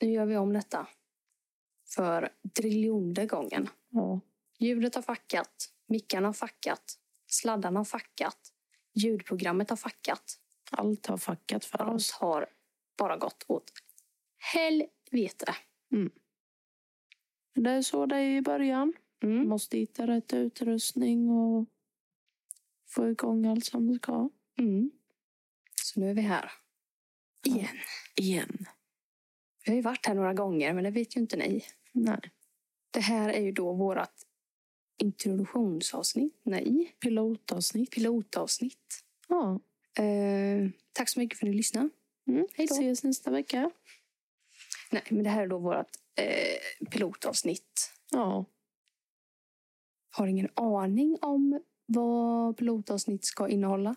Nu gör vi om detta. För triljonde gången. Ja. Ljudet har fackat. Mickarna har fackat. Sladdarna har fackat. Ljudprogrammet har fackat. Allt har fuckat för Allt oss. har bara gått åt helvete. Det är så det är i början. Mm. Måste hitta rätt utrustning och få igång allt som det ska. Mm. Så nu är vi här. Igen. Igen. Vi har ju varit här några gånger, men det vet ju inte ni. Nej. Det här är ju då vårt introduktionsavsnitt. Nej, Pilotavsnitt. pilotavsnitt. Ja. Eh, tack så mycket för att ni lyssnade. Mm. Hej då. Ses nästa vecka. Nej, men det här är då vårt eh, pilotavsnitt. Ja. Har ingen aning om vad pilotavsnitt ska innehålla.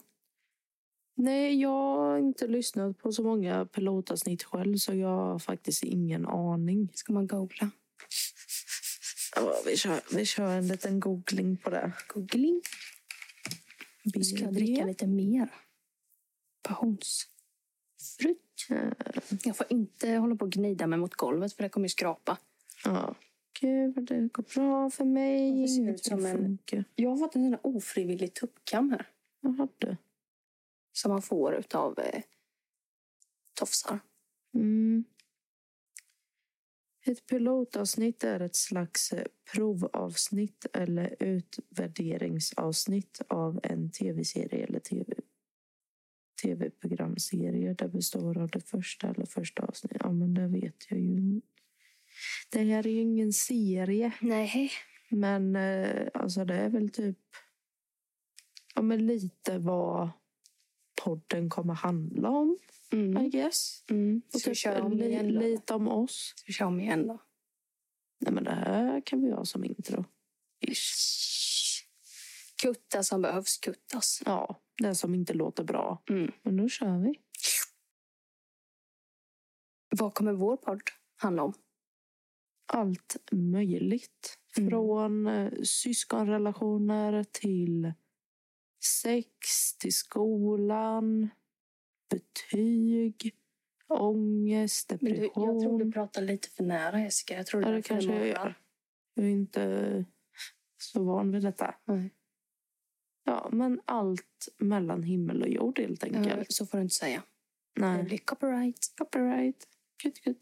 Nej, jag har inte lyssnat på så många pilotavsnitt själv så jag har faktiskt ingen aning. Ska man googla? Ja, vi, kör, vi kör en liten googling på det. Googling. Nu ska jag dricka BB. lite mer. Passionsfrukt. Jag får inte hålla på och gnida mig mot golvet för det kommer ju skrapa. Ja. Gud, vad det går bra för mig. Varför ser det ut Ingenting som en- funkar. Jag har fått en sån här ofrivillig tuppkam här. Jaha, du. Som man får utav eh, tofsar. Mm. Ett pilotavsnitt är ett slags eh, provavsnitt eller utvärderingsavsnitt av en tv-serie eller TV, tv-programserie. Det består av det första eller första avsnittet. Ja, men det vet jag ju. Det här är ju ingen serie, Nej. men eh, alltså det är väl typ ja, men lite vad podden kommer handla om, I Mm. guess. Mm. Och Ska vi typ köra om li- igen då? lite om oss. Ska vi köra om igen då? Nej, men det här kan vi ha som intro. Kutta som behövs kuttas. Ja, det som inte låter bra. Mm. Men nu kör vi. Vad kommer vår podd handla om? Allt möjligt. Mm. Från eh, syskonrelationer till sex, till skolan, betyg, ångest, Men du, jag tror du depression. pratar lite för nära Jessica. Jag tror Ja, det därför kanske jag morrar. gör. Jag är inte så van vid detta. Nej. Ja, men allt mellan himmel och jord helt Ja, enkelt. Eh, Så får du inte säga. Det Nej. blir copyright. Copyright. Gud, gud.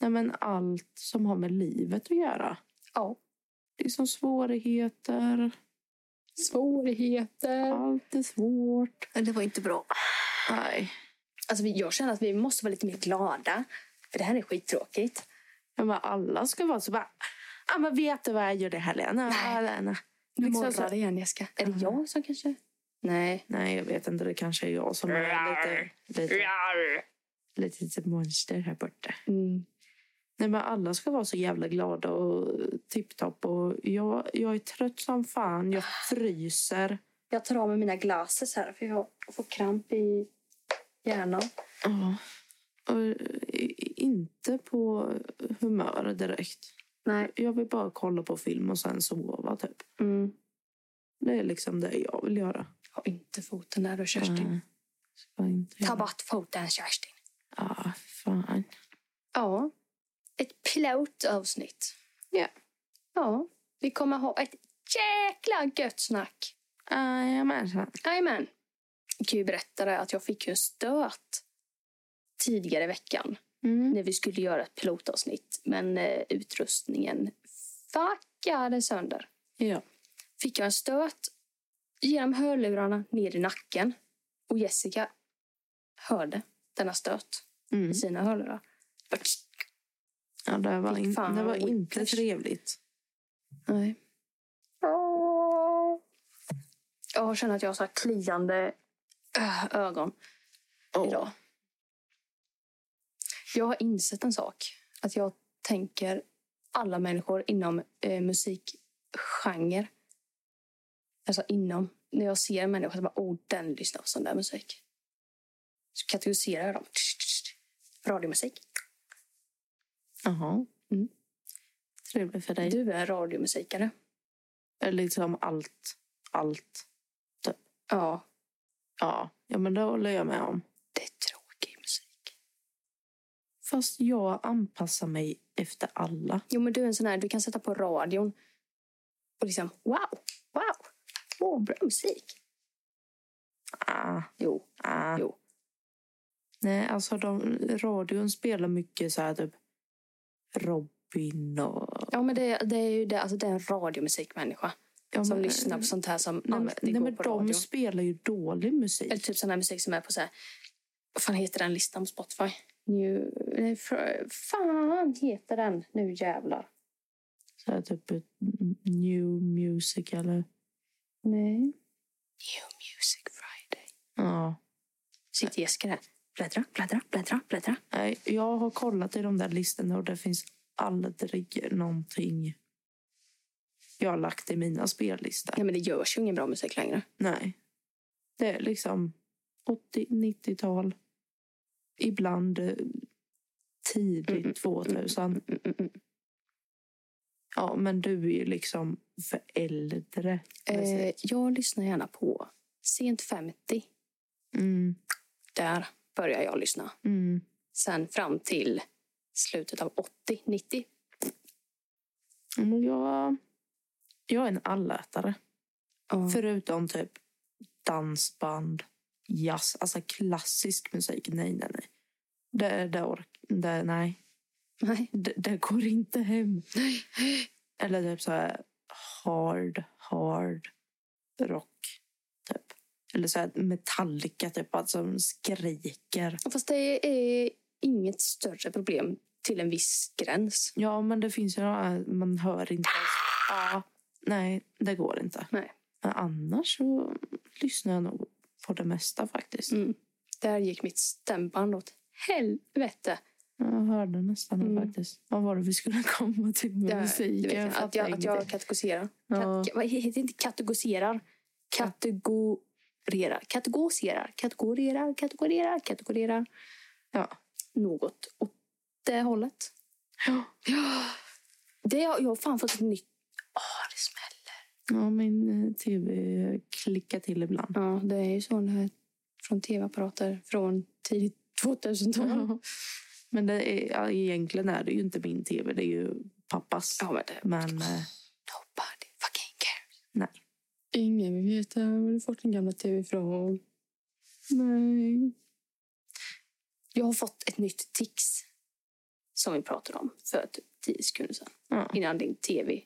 Nej, men allt som har med livet att göra. Ja. Liksom svårigheter. Svårigheter. Allt är svårt. Det var inte bra. Nej. Alltså, vi- jag känner att vi måste vara lite mer glada. För det här är skittråkigt. Ja, men alla ska vara så bara... Ja, men vet du vad jag gjorde i helgen? Ja, Nej. nej, nej. Nu Liksom morrar så- det igen Jessica. Är det jag som kanske... Nej. Nej, jag vet inte. Det kanske är jag som är lite... lite lite, lite monster här borta. Mm. Nej, men alla ska vara så jävla glada och tipptopp. Och jag, jag är trött som fan. Jag fryser. Jag tar av mig mina glasses här för jag får kramp i hjärnan. Ja. Och eh, inte på humör direkt. Nej. Jag vill bara kolla på film och sen sova typ. Mm. Det är liksom det jag vill göra. Ha inte foten där du Kerstin. Nej, ska inte göra. Mm. Ta bort foten Kerstin. Ja, fan. Ja. Ett pilotavsnitt. Ja. Ja. Vi kommer ha ett jäkla gött snack. Ah, Jajamensan. Jajamän. Jag kan ju berätta det att jag fick ju en stöt tidigare i veckan Mm. när vi skulle göra ett pilotavsnitt. Men eh, utrustningen fuckade sönder. Ja. Fick jag en stöt genom hörlurarna ner i nacken. Och Jessica hörde denna stöt Mm. i sina hörlurar. Det var tsk. ja det var, Fy in, fan, det var vad inte whiplash. trevligt. Nej. Jag känner att jag har så här kliande äh, ögon. idag. Jag har insett en sak. Att jag tänker alla människor inom eh, musikgenre. Alltså inom. När jag ser en människa så bara, oh den lyssnar på sån där musik. Så kategoriserar jag dem. Radiomusik. Jaha. Mm. Trevligt för dig. Du är en radiomusikare. Eller liksom allt. Allt. Ja, Ja. ja, men det håller jag med om. det är tråkig musik. Fast jag anpassar mig efter alla. Jo, men du är en sån här, du kan sätta på radion och liksom wow, wow, åh, bra musik. Ah, Jo, ah. jo. Nej, alltså de, radion spelar mycket så här typ Robin och... Ja, men det, det är ju det, alltså det är en radiomusikmänniska Ja, som men- lyssnar på sånt här som Nej, men, alltid nej, går men på de radion. spelar ju dålig musik. Eller typ sån här musik som är på så här, vad fan heter den listan på Spotify? New, nej, fr- fan heter den? Nu jävlar. Så här, typ ett new music eller... Nej. New Music Friday. Ja. Sitter Jessica där. Bläddra, bläddra, bläddra, bläddra. Nej, jag har kollat i de där listorna och det finns aldrig någonting jag har lagt i mina spellistor. Nej men det görs ju ingen bra musik längre. Nej. Det är liksom 80-90-tal. Ibland eh, Mm, tidigt mm, 2000. Mm, mm, mm. Ja, men du är ju liksom för äldre. Eh, jag lyssnar gärna på sent 50. Mm, Där börjar jag lyssna. mm. Sen fram till slutet av 80, 90. Men jag, jag är en allätare. Ja. Förutom typ dansband, jazz, alltså klassisk musik. Nej, nej, nej. Det, det, ork, det, nej. Nej. Det, det går inte hem. Eller typ så här hard, hard rock. Typ. Eller så här Metallica, typ, att som skriker. Fast det är inget större problem till en viss gräns. Ja, men det finns ju de här, man hör inte ens. Ja, nej, det går inte. Nej. Men annars så lyssnar jag nog på det mesta faktiskt. Mm. Där gick mitt stämband åt helvete. Jag hörde nästan det Mm. faktiskt. Vad var det vi skulle komma till med Det- musik? du vet, Jag att, jag, fattar att jag ingenting. kategoriserar. Ja. Kat, vad heter det? Inte kategoriserar. Kategorerar. Kategoriserar. Kategorerar. Kategorerar. Kategorerar. Ja. Något åt det hållet. Ja. Det, har- jag har fan fått ett nytt... Åh, det smäller. ja, min eh, tv klickar till ibland. Ja, det är ju så när, från tv-apparater från tidigt 2000-tal. Men det är, ja, egentligen är det ju inte min tv, det är ju pappas. Ja, men det... Men eh, Nobody fucking cares. Nej. Ingen vill veta var du fått din gamla tv ifrån. nej. Jag har fått ett nytt tics som vi pratade om för typ 10 sekunder sedan. Ja. Innan din tv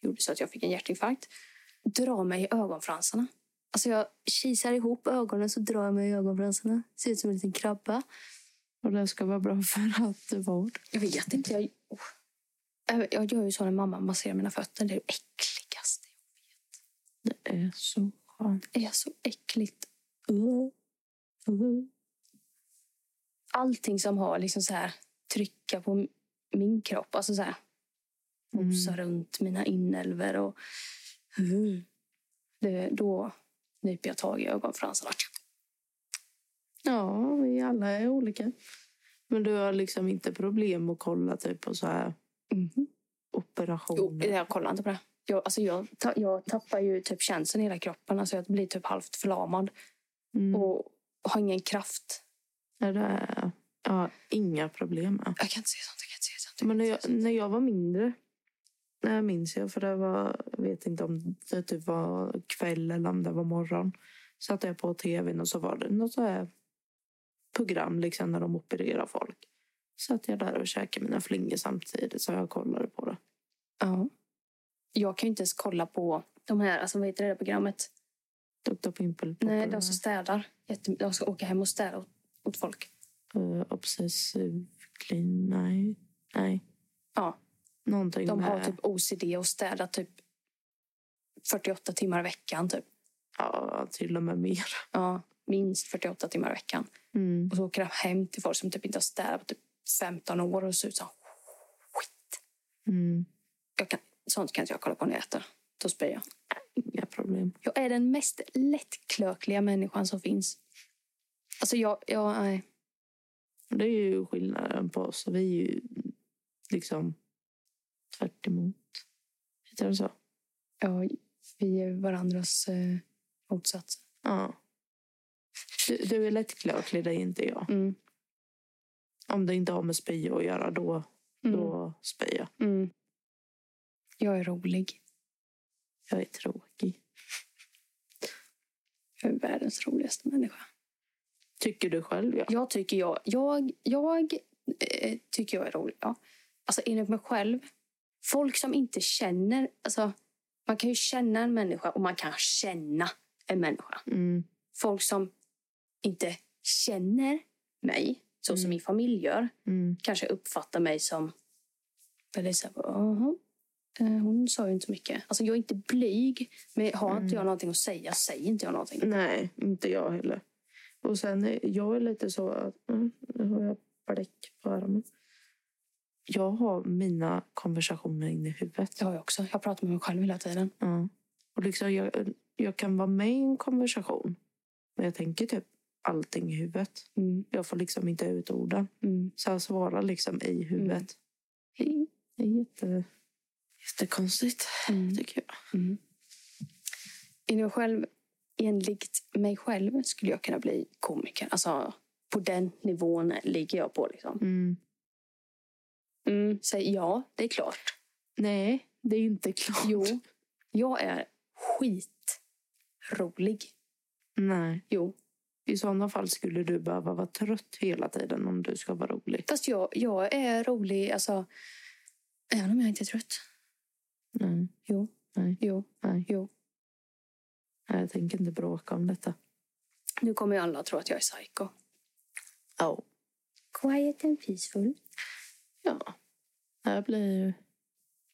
gjorde så att jag fick en hjärtinfarkt. Dra mig i ögonfransarna. Alltså jag kisar ihop ögonen så drar jag mig i ögonfransarna. Ser ut som en liten krabba. Och det ska vara bra för att det var. Jag vet inte. Jag, oh. Äh, jag gör ju så när mamma masserar mina fötter. Det är det äckligaste. Det är så skönt. Det är så äckligt. Uh, uh. Allting som har liksom så här trycka på m- min kropp. Alltså så här Mm. mosa runt mina inälvor och mm. det, då nyper jag tag i ögonfransarna. Ja, vi alla är olika. Men du har liksom inte problem att kolla typ på så här Mm-hmm. Jo, operationer? jag kollar inte på det. Jag, alltså jag, ta, jag tappar ju typ känslan i hela kroppen. Alltså jag blir typ halvt förlamad Mm. och har ingen kraft. Är det, ja, inga problem med. Jag kan inte se sånt. Jag kan inte se sånt. Men när jag, när jag var mindre, när jag minns jag, för det var, jag vet inte om det typ var kväll eller om det var morgon, satte jag på tvn och så var det något så här program liksom när de opererar folk. Satt jag där och käkade mina flingor samtidigt så jag kollade på det. Ja. Jag kan ju inte ens kolla på de här, alltså vad heter det där programmet? Dr. Pimple Nej, de som städar. Jätte, de ska åka hem och städa åt, åt folk. Eh, obsessiv clean, nej. nej. Ja. Någonting De med... har typ OCD och städar typ 48 timmar i veckan. Typ. Ja, till och med mer. Ja, minst 48 timmar i veckan. Mm. Och så åker de hem till folk som typ inte har städat på typ 15 år och ser ut som skit. Mm. Jag kan, sånt kan inte jag kolla på när jag äter. Då spyr jag. Inga problem. Jag är den mest lättklökliga människan som finns. Alltså jag, jag nej. Det är ju skillnaden på oss. Vi är ju liksom tvärt emot. Heter det så? Ja, vi är varandras eh, motsatser. Ja. Du, du är lättklöklig, det är inte jag. Mm. Om det inte har med spy att göra, då, Mm. då spyr jag. Mm. Jag är rolig. Jag är tråkig. Jag är världens roligaste människa. Tycker du själv, ja. Jag tycker jag, jag, jag eh, tycker jag är rolig. Ja. Alltså enligt mig själv. Folk som inte känner, alltså man kan ju känna en människa och man kan känna en människa. Mm. Folk som inte känner mig, så som Mm. min familj gör, Mm. kanske uppfattar mig som väldigt så här, "Jaha, eh, hon sa ju inte så mycket. Alltså jag är inte blyg, men har inte jag någonting att säga, säger inte jag någonting. Nej, inte jag heller. Och sen, är- jag är lite så att... Mm, nu har jag bläck på armen. Jag har mina konversationer inne i huvudet. Det har jag också. Jag pratar med mig själv hela tiden. Ja. Och liksom jag, jag kan vara med i en konversation. Men jag tänker typ allting i huvudet. Mm, Jag får liksom inte ut orden. mm. Så jag svarar liksom i huvudet. Det är jätte, jättekonstigt, Mm. tycker jag. I mig själv, enligt mig själv skulle jag kunna bli komiker. Alltså, på den nivån ligger jag på. Liksom. Mm, säg ja, det är klart. Nej, det är inte klart. Jo, jag är skitrolig. Nej. Jo, I sådana fall skulle du behöva vara trött hela tiden om du ska vara rolig. fast jag, jag är rolig alltså, även om jag inte är trött. Nej, Jo, Nej. jo. nej. Jo. Nej, jag tänker inte bråka om detta. Nu kommer ju alla att tro att jag är psycho. Oh. Quiet and peaceful. Ja. Jag blir ju...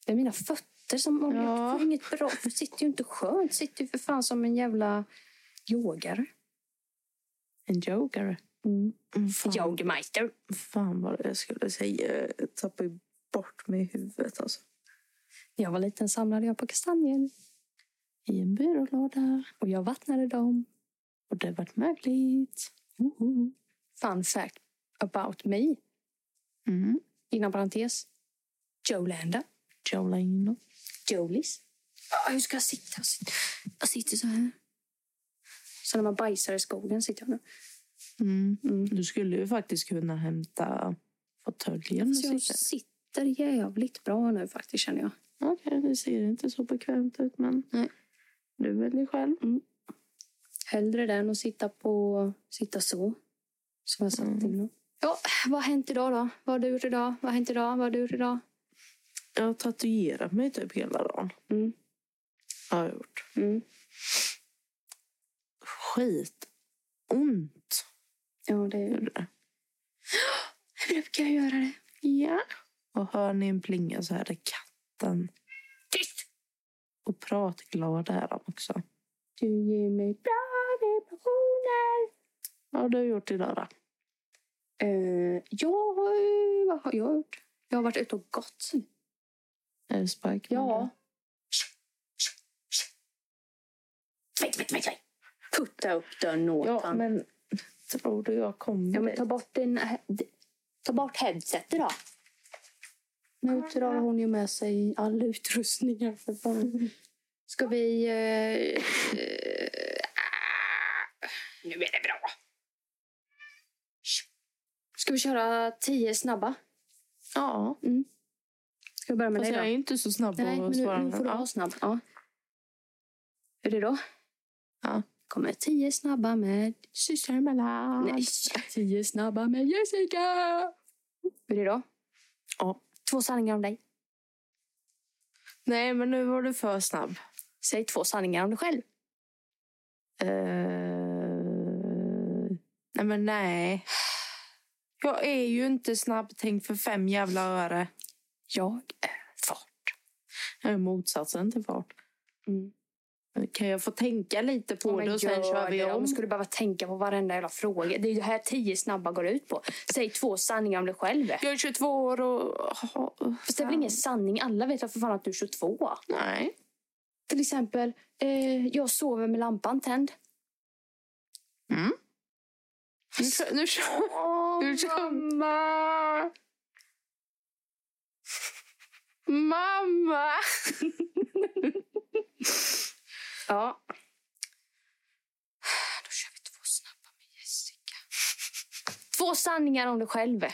Det är mina fötter som håller. Ja. Jag får inget bra. Jag sitter ju inte skönt. Jag sitter ju för fan som en jävla yogare. en jokare. Mm. Mm, fan. Yogameister. Fan vad jag skulle säga. Jag tappade ju bort mig i huvudet alltså. När jag var liten samlade jag på kastanjer I en byrålåda. och jag vattnade dem. Och det vart mögligt. Oho. Fun fact about me. Mm. Inom parentes. Jolanda. Jolene. Jolies. Ah, hur ska jag sitta? Jag sitter- Jag sitter så här. Så när man bajsar i skogen sitter jag nu. Mm. Mm. Du skulle ju faktiskt kunna hämta fåtöljen. och Så jag sitta. sitter jävligt bra nu faktiskt känner jag. Okej, det ser inte så bekvämt ut men Nej. du väljer själv. Hellre den och sitta på sitta så. Som jag satt Mm. innan. Ja, vad har hänt idag då? Vad har du gjort idag? Vad har hänt idag? Vad har du gjort idag? Jag har tatuerat mig typ hela dagen. Mm. Har jag gjort. Mm. Skit. Ont. Ja, det gjorde det. brukar jag göra det. Ja. Och hör ni en plinga så här är katten. Tyst! Och pratglad är han också. Du ger mig bra vibrationer. Vad har du gjort idag då? Eh, jag har ju- Vad har jag gjort? Jag har varit ute och gått. Mm. Är det sparken? Ja. Tvätt, tvätt, tvätt, tvätt. Putta upp dörren åt Ja, han. men tror du jag kommer Ja, men dit? ta bort din... Ta bort headsetet då. Nu drar hon ju med sig all utrustning här för fan. Ska vi... Eh, eh, ah, nu är det bra. Ska vi köra tio snabba? Ja, Ska vi börja med fast jag är dig inte så snabb då? Nej, på men att nu, svara. nu får du vara ja. snabb. Ja. Är det då? Ja. Kommer tio snabba med... Syster emellan. Nej, tio snabba med Jessica! Är det då? Ja. Två sanningar om dig. Nej, men nu var du för snabb. Säg två sanningar om dig själv. Eh, Nej, men nej. Jag är ju inte snabb, tänk för fem jävla öre. Jag är fart. Jag är motsatsen till fart. Mm. Kan jag få tänka lite på det och sen kör vi om? Om skulle behöva tänka på varenda jävla fråga. Det är ju det här tio snabba går ut på. Säg två sanningar om dig själv. Jag är 22 år och... Fast det är väl ingen sanning? Alla vet väl för fan att du är 22? Nej. Till exempel, eh, jag sover med lampan tänd. Nu kör, nu kör. Åh, Du mamma! Mamma! Ja. Då kör vi två snabba med Jessica. Två sanningar om dig själv.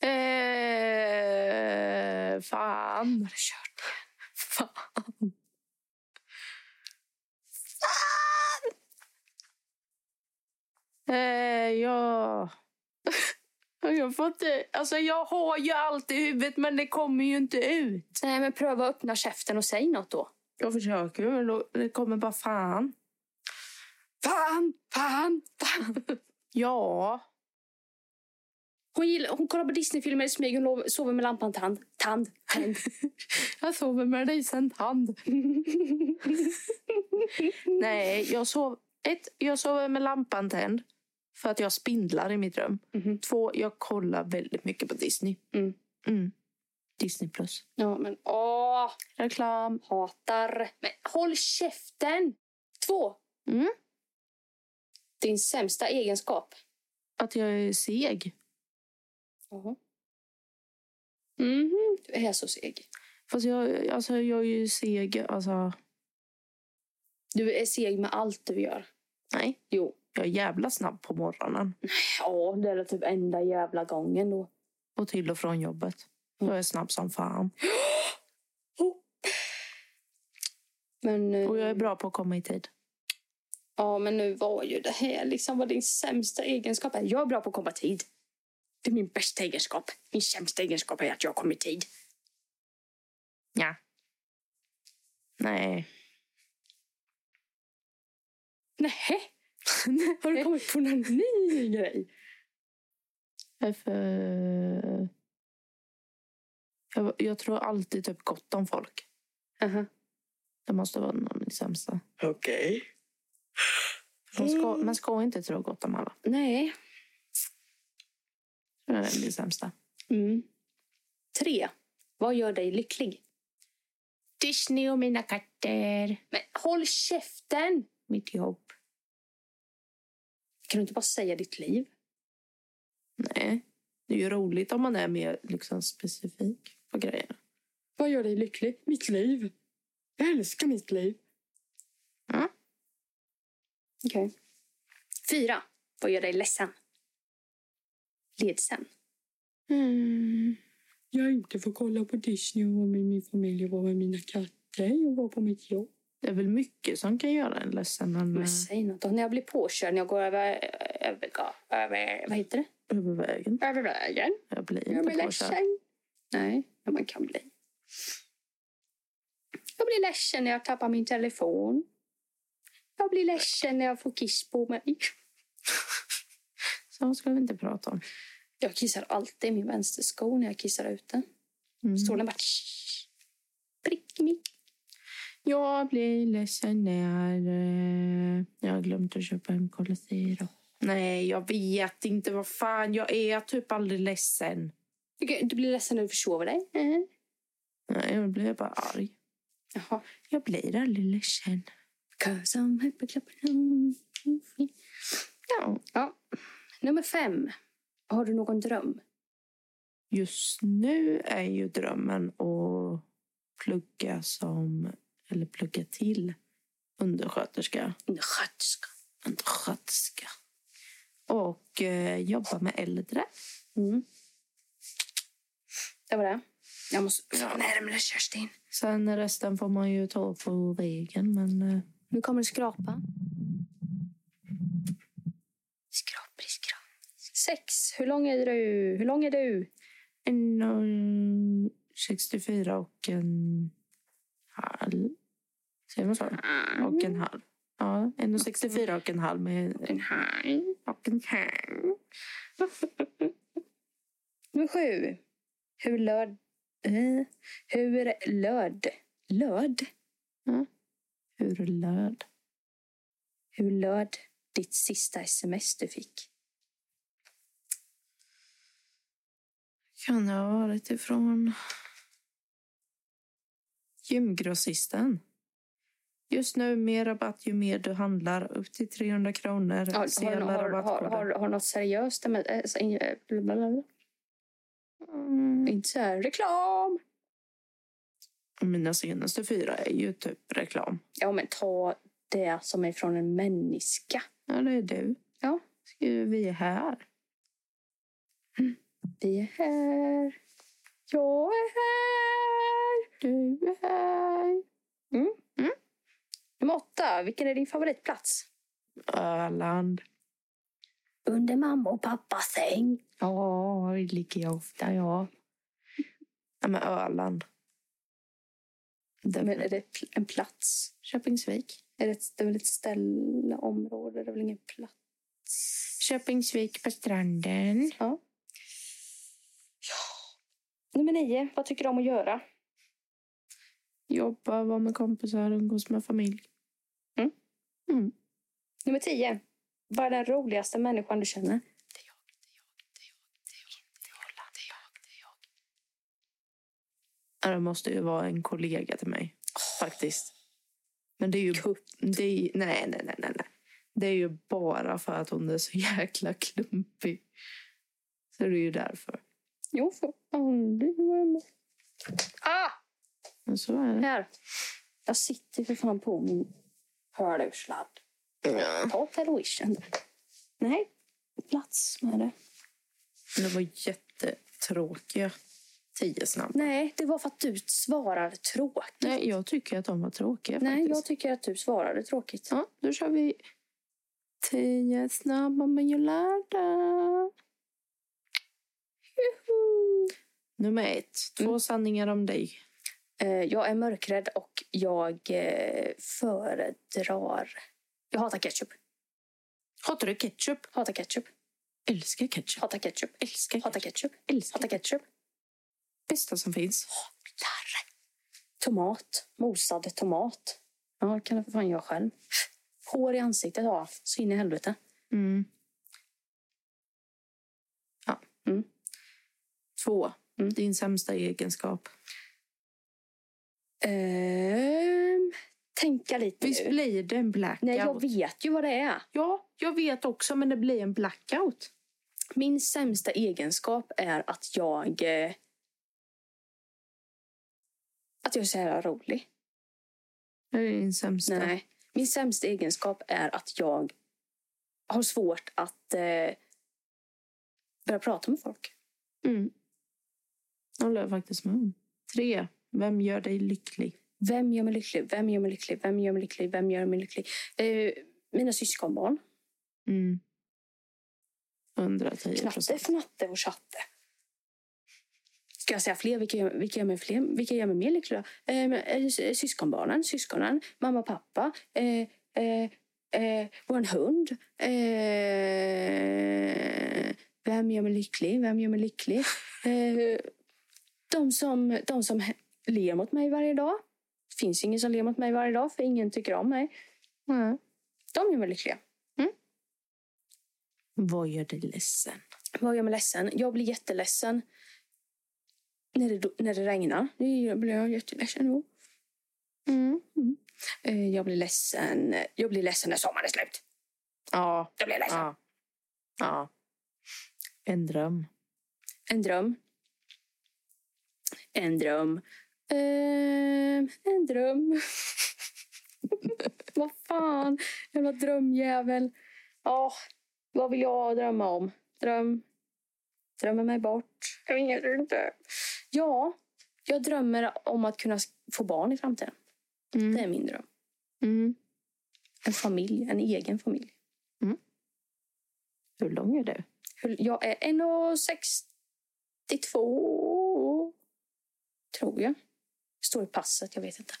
Eh, Fan! Hade kört igen. Fan. Eh, ja... Jag får inte... Alltså jag har ju allt i huvudet men det kommer ju inte ut. Nej, men pröva att öppna käften och säg något då. Jag försöker ju men då- det kommer bara fan. Fan, fan, fan. Ja. Hon, gillar, hon kollar på Disneyfilmer i smyg. Hon lov- sover med lampan tand. Tand. Tänd. Jag sover med dig sen hand. Nej, jag sov... Ett, jag sover med lampan tänd. För att jag spindlar i mitt rum. Mhm. Två, jag kollar väldigt mycket på Disney. Mm. Mm. Disney plus. Ja, men åh. Reklam. Hatar. Men håll käften! Två. Mm. Din sämsta egenskap. Att jag är seg. Jaha. Mhm, Du är så seg. Fast jag, alltså, jag är ju seg. Alltså, Du är seg med allt du gör. nej. Jo. Jag är jävla snabb på morgonen. Ja, det är väl typ enda jävla gången då. Och till och från jobbet. Jag är snabb som fan. Men, eh, Och jag är bra på att komma i tid. Ja, men nu var ju det här liksom vad din sämsta egenskap är. Jag är bra på att komma i tid. Det är min bästa egenskap. Min sämsta egenskap är att jag kommer i tid. Nej. Nähä? Har du kommit på någon ny grej? Jag, är för... jag, jag tror alltid typ gott om folk. Aha. Det måste vara någon i det sämsta. Okej. Man ska, man ska inte tro gott om alla. Mm, Nej. Det är det sämsta. Mm. Tre. Vad gör dig lycklig? Disney och mina katter. Men håll käften! Mitt jobb. Kan du inte bara säga ditt liv? Nej. Det är ju roligt om man är mer liksom, specifik på grejerna. Vad gör dig lycklig? Mitt liv. Jag älskar mitt liv. Ja. Okej. Fyra. Vad gör dig ledsen? Ledsen. Mm. Jag inte får kolla på Disney och vara med min familj och vara med mina katter och vara på mitt jobb. Det är väl mycket som kan göra en ledsen. Men Men säg något då. När jag blir påkörd, när jag går över... över, över vad heter det? eh, över vägen. Över vägen. Jag blir Jag blir inte påkörd. ledsen. Nej, men man kan bli. Jag blir ledsen när jag tappar min telefon. Jag blir ledsen när jag får kiss på mig. Så ska vi inte prata om. Jag kissar alltid i min vänstersko när jag kissar ute. Mm. Stolen bara... tsch. Prick mig. Jag blir ledsen när eh, jag har glömt att köpa en Cola Zero. Nej, jag vet inte. Vad fan, jag är typ aldrig ledsen. Okej, Du blir ledsen när du försover dig. Mm. Nej, jag blir bara arg. Jaha. Jag blir aldrig ledsen. Cause I'm happy clapping. Ja. Nummer fem. Har du någon dröm? Just nu är ju drömmen att plugga som, eller plugga till undersköterska. En sköterska. Undersköterska. Och eh, jobba med äldre. Mm. Det var det. Jag måste vara närmare Kerstin. Sen resten får man ju ta på vägen, men... eh, Nu kommer det skrapa. Skrapri, skrap. Sex. Hur lång är du? Hur lång är du? En och 64 och en halv. Säger man så? Och en halv. Ja, en och 64 och en halv med En halv. och en halv. Nummer sju. Hur löd... eh, Hur löd... Löd? Hur löd? Hur löd ditt sista sms du fick? Kan det ha varit ifrån gymgrossisten? Just nu mer rabatt ju mer du handlar. Upp till 300 kronor. Har, Se har, alla har, har, rabattkoder. har, har något seriöst med... eh, så- eh, blablabla. Mm. Inte så här reklam. Mina senaste fyra är ju typ reklam. Ja, men ta det som är från en människa. Ja, det är du. Ja. Ska Vi är här. Vi är här. Jag är här! Du är här. Nummer åtta. Vilken är din favoritplats? Öland. Under mamma och pappas säng. Ja, det ligger jag ofta, ja. Ja, men Öland. Det, Men är det pl- en plats? Köpingsvik. Är det, ett, det är väl ett ställe, område? Det är väl ingen plats? Köpingsvik på stranden. Nummer nio. Vad tycker du om att göra? Jobba, vara med kompisar, umgås med familj. Nummer tio. Vad är den roligaste människan du känner? Ja, Det måste ju vara en kollega till mig, faktiskt. Men det är ju... Det är, ju- nej, nej, nej, nej, nej. Det är ju bara för att hon är så jäkla klumpig. Så det är ju därför. Jo, för aldrig vara med. Ah! Men så är det. Här. Jag sitter för fan på min hörlursladd. Ta television. Nej, plats med det. Men Det var jättetråkiga tio snabbt. Nej, det var för att du svarar tråkigt. Nej, jag tycker att de var tråkiga Nej, jag faktiskt. tycker att du svarade tråkigt. Ja, då kör vi tio snabba med Jolanda. Nummer ett. Två Mm. sanningar om dig. Eh, Jag är mörkrädd och jag eh, föredrar... Jag hatar ketchup. Hatar du ketchup? Hatar ketchup. Älskar ketchup. Hatar ketchup. Älskar ketchup. Hatar ketchup. Älskar Hatar ketchup. bästa som finns. Där. Tomat. Mosad tomat. Ja, det kan jag för fan göra själv. Hår i ansiktet har jag. Så in i helvete. Mm. Ja. Mm. Två. Mm. Din sämsta egenskap. Ehm, tänka lite Visst nu. blir det en blackout? Eh. Nej, jag vet ju vad det är. Ja, jag vet också, men det blir en blackout. Min sämsta egenskap är att jag... eh, Att jag är så jävla rolig. Det är din sämsta. Nej. Min sämsta egenskap är att jag har svårt att eh, börja prata med folk. Mm. Det håller jag faktiskt med om. Tre. Vem gör dig lycklig? Vem gör mig lycklig? Vem gör mig lycklig? Vem gör mig lycklig? Vem gör mig lycklig? Eh, mina syskonbarn. Mm. 110 Knatte, procent. fnatte och tjatte. Ska jag säga fler? Vilka gör, vilka gör mig fler? Vilka gör mig mer lycklig? Eh, men, eh, sy- syskonbarnen, syskonen, mamma och pappa. Eh, eh, eh, vår hund. Eh, vem gör mig lycklig? Vem gör mig lycklig? Eh, de som, de som he- ler mot mig varje dag. finns ingen som ler mot mig varje dag för ingen tycker om mig. Nej. De gör mig lyckliga. Vad gör dig ledsen? Vad gör mig ledsen? Jag blir jätteledsen när det, när det regnar. Det blir jag jätteledsen då. Mm. Eh, Jag blir ledsen. Jag blir ledsen när sommaren är slut. Ja, Jag blir ledsen. ja. Ja. En dröm. En dröm. En dröm. Ehm, en dröm. vad fan? Jävla drömjävel. Ja, vad vill jag drömma om? Dröm. Drömmer mig bort. Jag vet inte. Ja, jag drömmer om att kunna s- få barn i framtiden. Det är min dröm. Mm. En familj, en egen familj. Hur lång är du? Hur- Jag är 1,62 tror jag. Står i passet, jag vet inte.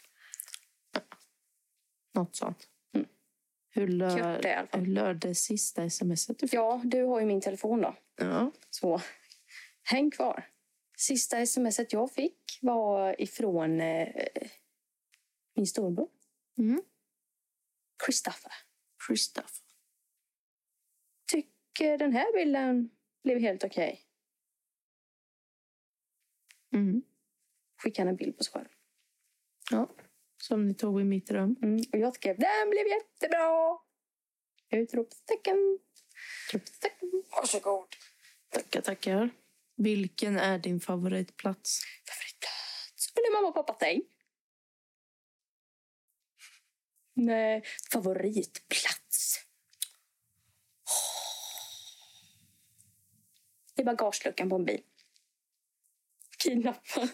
Något sånt. Mm. Hur Kort är lör, i alla fall. hur lör det sista smset du fick? Ja, du har ju min telefon då. Ja. Så häng kvar. Sista smset jag fick var ifrån eh, min storbror. Mm. Christopher. Christoph. Tycker eh, den här bilden blev helt okej. Mm. Skickade han en bild på sig själv. Som ni tog i mitt rum. Mm. Och jag skrev den blev jättebra! Utropstecken. Utropstecken. Varsågod. Tackar, tackar. Vilken är din favoritplats? Favoritplats? Under mamma och pappa säng. Nej, favoritplats. I bagageluckan på en bil. Kidnappad.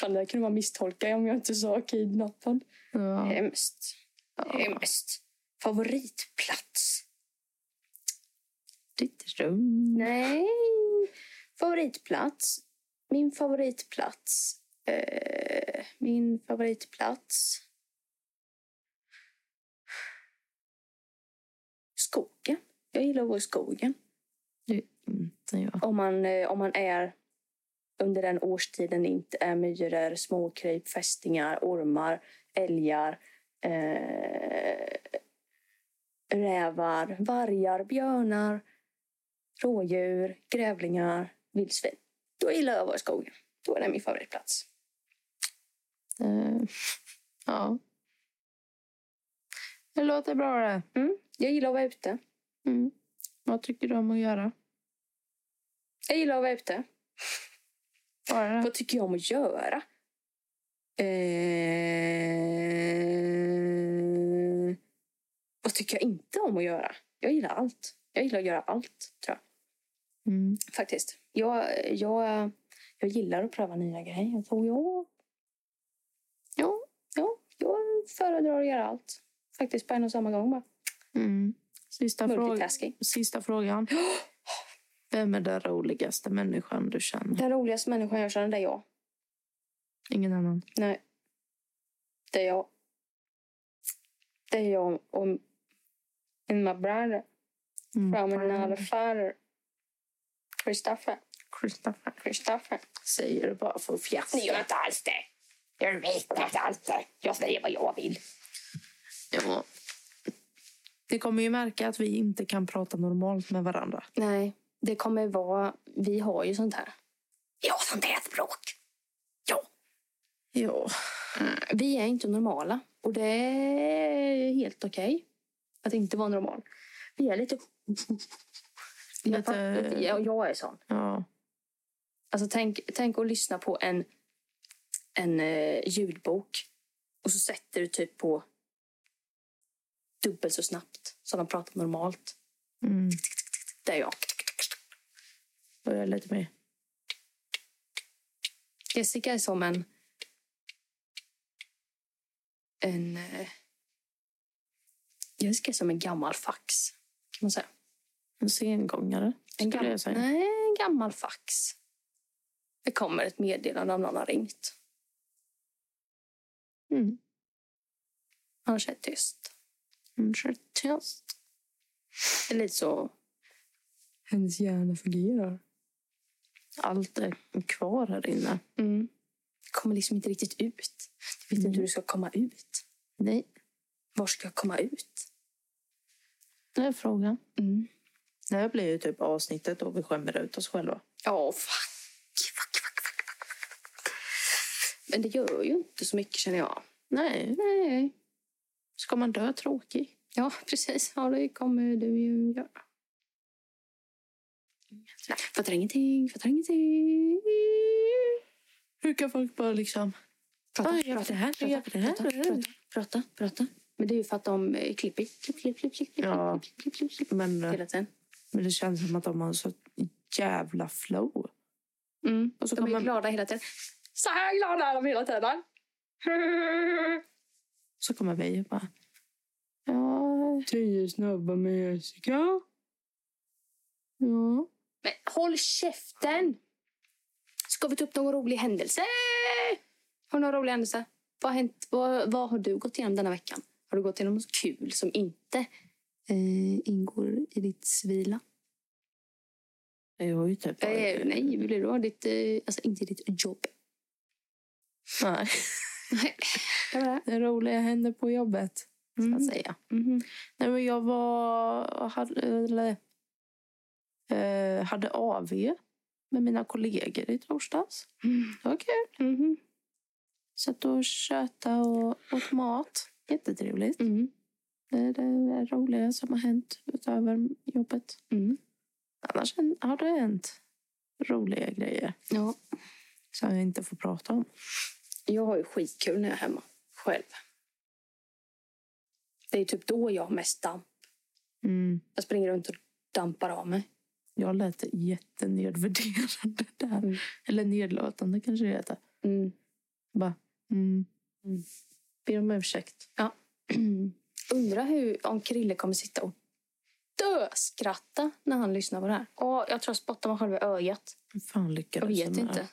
Fan, det här kunde man misstolka om jag inte sa kidnappad. Ja. Hemskt. Hemskt. Favoritplats? Ditt rum. Nej. Favoritplats? Min favoritplats? Eh, min favoritplats? Skogen. Jag gillar att vara i skogen. Inte jag. Om man, eh, om man är under den årstiden det inte är myror, småkryp, fästingar, ormar, älgar, eh, rävar, vargar, björnar, rådjur, grävlingar, vildsvin. Då gillar jag att vara i skogen. Då är det min favoritplats. Eh, ja. Det låter bra det. Jag gillar att vara ute. Mm. Vad tycker du om att göra? Jag gillar att vara ute. Bara det? Vad tycker jag om att göra? Eh... Vad tycker jag inte om att göra? Jag gillar allt. Jag gillar att göra allt, tror Mm. jag. Faktiskt. Jag, jag, jag gillar att pröva nya grejer. Så jag, ja, ja, jag föredrar att göra allt. Faktiskt på en och samma gång. Bara. Mm. Sista, fråga, Multitasking. sista frågan. Vem är den roligaste människan du känner? Den roligaste människan jag känner, det är jag. Ingen annan. Nej. Det är jag. Det är jag och and my brother Mm. from another father. Christopher. Christopher. Christopher. Säger du bara för att fjassa. Ni gör inte alls det. Jag vet inte alls det. Jag säger vad jag vill. Ja. Det kommer ju märka att vi inte kan prata normalt med varandra. Nej, det kommer vara... Vi har ju sånt här. Ja, sånt här språk. Ja. Eh, Vi är inte normala. Och det är helt okej att inte vara normal. Vi är lite... Lite- Jag, jag är sån. ja. Alltså tänk, tänk att lyssna på en, en eh, ljudbok och så sätter du typ på dubbelt så snabbt som de pratar normalt. Mm. Det är jag. Och jag är lite mer... Jessica är som en... en eh, Jessica är som en gammal fax, kan man säga. En sengångare, En skulle jag säga. Nej, en gammal fax. Det kommer ett meddelande om någon har ringt. Mm. Annars är det tyst. Hon kör test. Det är lite så... Hennes hjärna fungerar. Allt är kvar här inne. Mm. kommer liksom inte riktigt ut. Du vet Mm. inte hur du ska komma ut. Nej, Var ska jag komma ut? det är frågan. Mm. Det här blir ju typ avsnittet då vi skämmer ut oss själva. Ja, fuck. Fuck, fuck, fuck, fuck, fuck. Men det gör ju inte så mycket känner jag. Nej, Nej. ska man dö tråkig? Ja, precis. Ja, det kommer du ju göra. Nej, fattar ingenting, fattar ingenting. Hur kan folk bara liksom... Prata, Oj, jag gör det här, jag gör det här. prata, prata, prata, prata. Men det är ju för att de eh, klipper. Klipp, klipp, klipp, klipp, klipp, Ja. klipp, klipp, klipp, klipp. Men, Hela tiden. men det känns som att de har så jävla flow. Mm. Och så De är kan man, glada hela tiden. Så här glada är de hela tiden. så kommer vi och bara... Ja... Tio snabba med Jessica. Ja. Men håll käften! Ska vi ta upp någon rolig händelse? Har du någon rolig händelse? Vad har, hänt? Vad, vad har du gått igenom denna veckan? Har du gått igenom något kul som inte eh, ingår i ditt civila? Jag har ju typ... Eh, nej, vill du ha ditt... Eh, alltså inte ditt jobb. Nej. Det var det. Det roliga hände på jobbet, ska Mm. jag säga. Mhm. Nej, men jag var... Hade, eller, eh, hade AV med mina kollegor i torsdags. Mm. Det var kul. Mhm. Satt och tjötade och åt mat. Jättetrevligt. Mm. Det är det roliga som har hänt utöver jobbet. Mm. Annars hän- har det hänt roliga grejer Ja, som jag inte får prata om. jag har ju skitkul när jag är hemma. Själv. Det är typ då jag har mest damp. Mm. Mm. Jag springer runt och dampar av mig. Jag lät jättenedvärderande där. Mm. Eller nedlåtande kanske det heter. Mm. Bara, mm. Mm. Be om ursäkt. Undrar hur, om Krille kommer sitta och döskratta när han lyssnar på det här. Åh, jag tror jag spottar mig själv i ögat. Hur fan Jag lyckades vet med det? inte.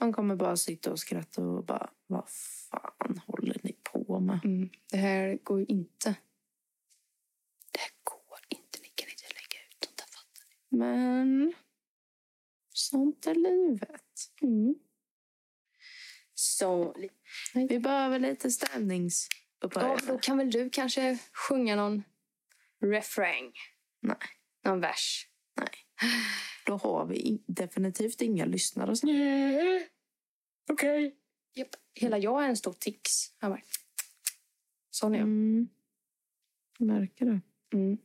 Man kommer bara sitta och skratta och bara, vad fan håller ni på med? Mm. Det här går ju inte. Det här går inte. Ni kan inte lägga ut sånt här. fattar Men sånt är livet. ni? Mm. Så, Vi behöver lite stämningsupphöjelse. ja, då kan väl du kanske sjunga någon refräng? Nej. Någon vers? Då har vi in- definitivt inga lyssnare. som- Mm. Okej. Japp. Hela jag är en stor tics. har jag märkt. Sån är jag. Mm. Märker du? Mm.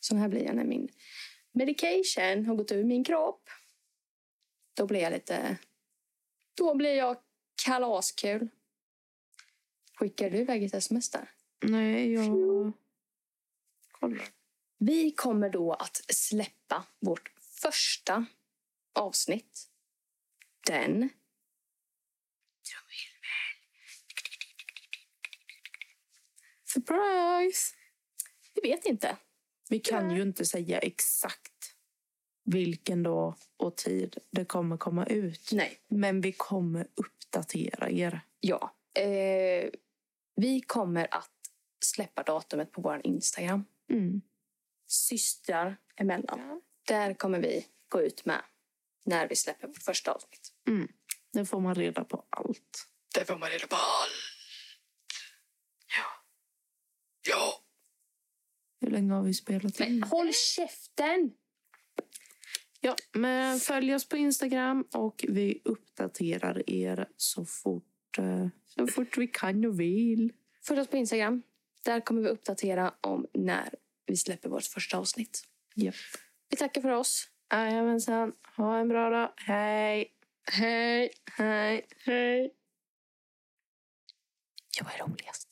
Sån här blir jag när min medication har gått ur min kropp. Då blir jag lite... Då blir jag kalaskul. Skickar du iväg ett sms där? Nej, jag... Kolla. Vi kommer då att släppa vårt första avsnitt. Den... Surprise! Vi vet inte. Vi kan ju inte säga exakt vilken dag och tid det kommer komma ut. Nej. Men vi kommer uppdatera er. Ja. Eh, vi kommer att släppa datumet på vår Instagram. Systrar emellan. Där kommer vi gå ut med när vi släpper vårt första avsnitt. Nu får man reda på allt. Där får man reda på allt. Ja. Ja. Hur länge har vi spelat Men in? håll käften! Ja, men följ oss på Instagram och vi uppdaterar er så fort, eh, så fort vi kan och vill. Följ oss på Instagram. Där kommer vi uppdatera om när vi släpper vårt första avsnitt. Japp. Vi tackar för oss. Jajamensan. Ha en bra dag. Hej! Hej! Hej! Hej! Jag är roligast.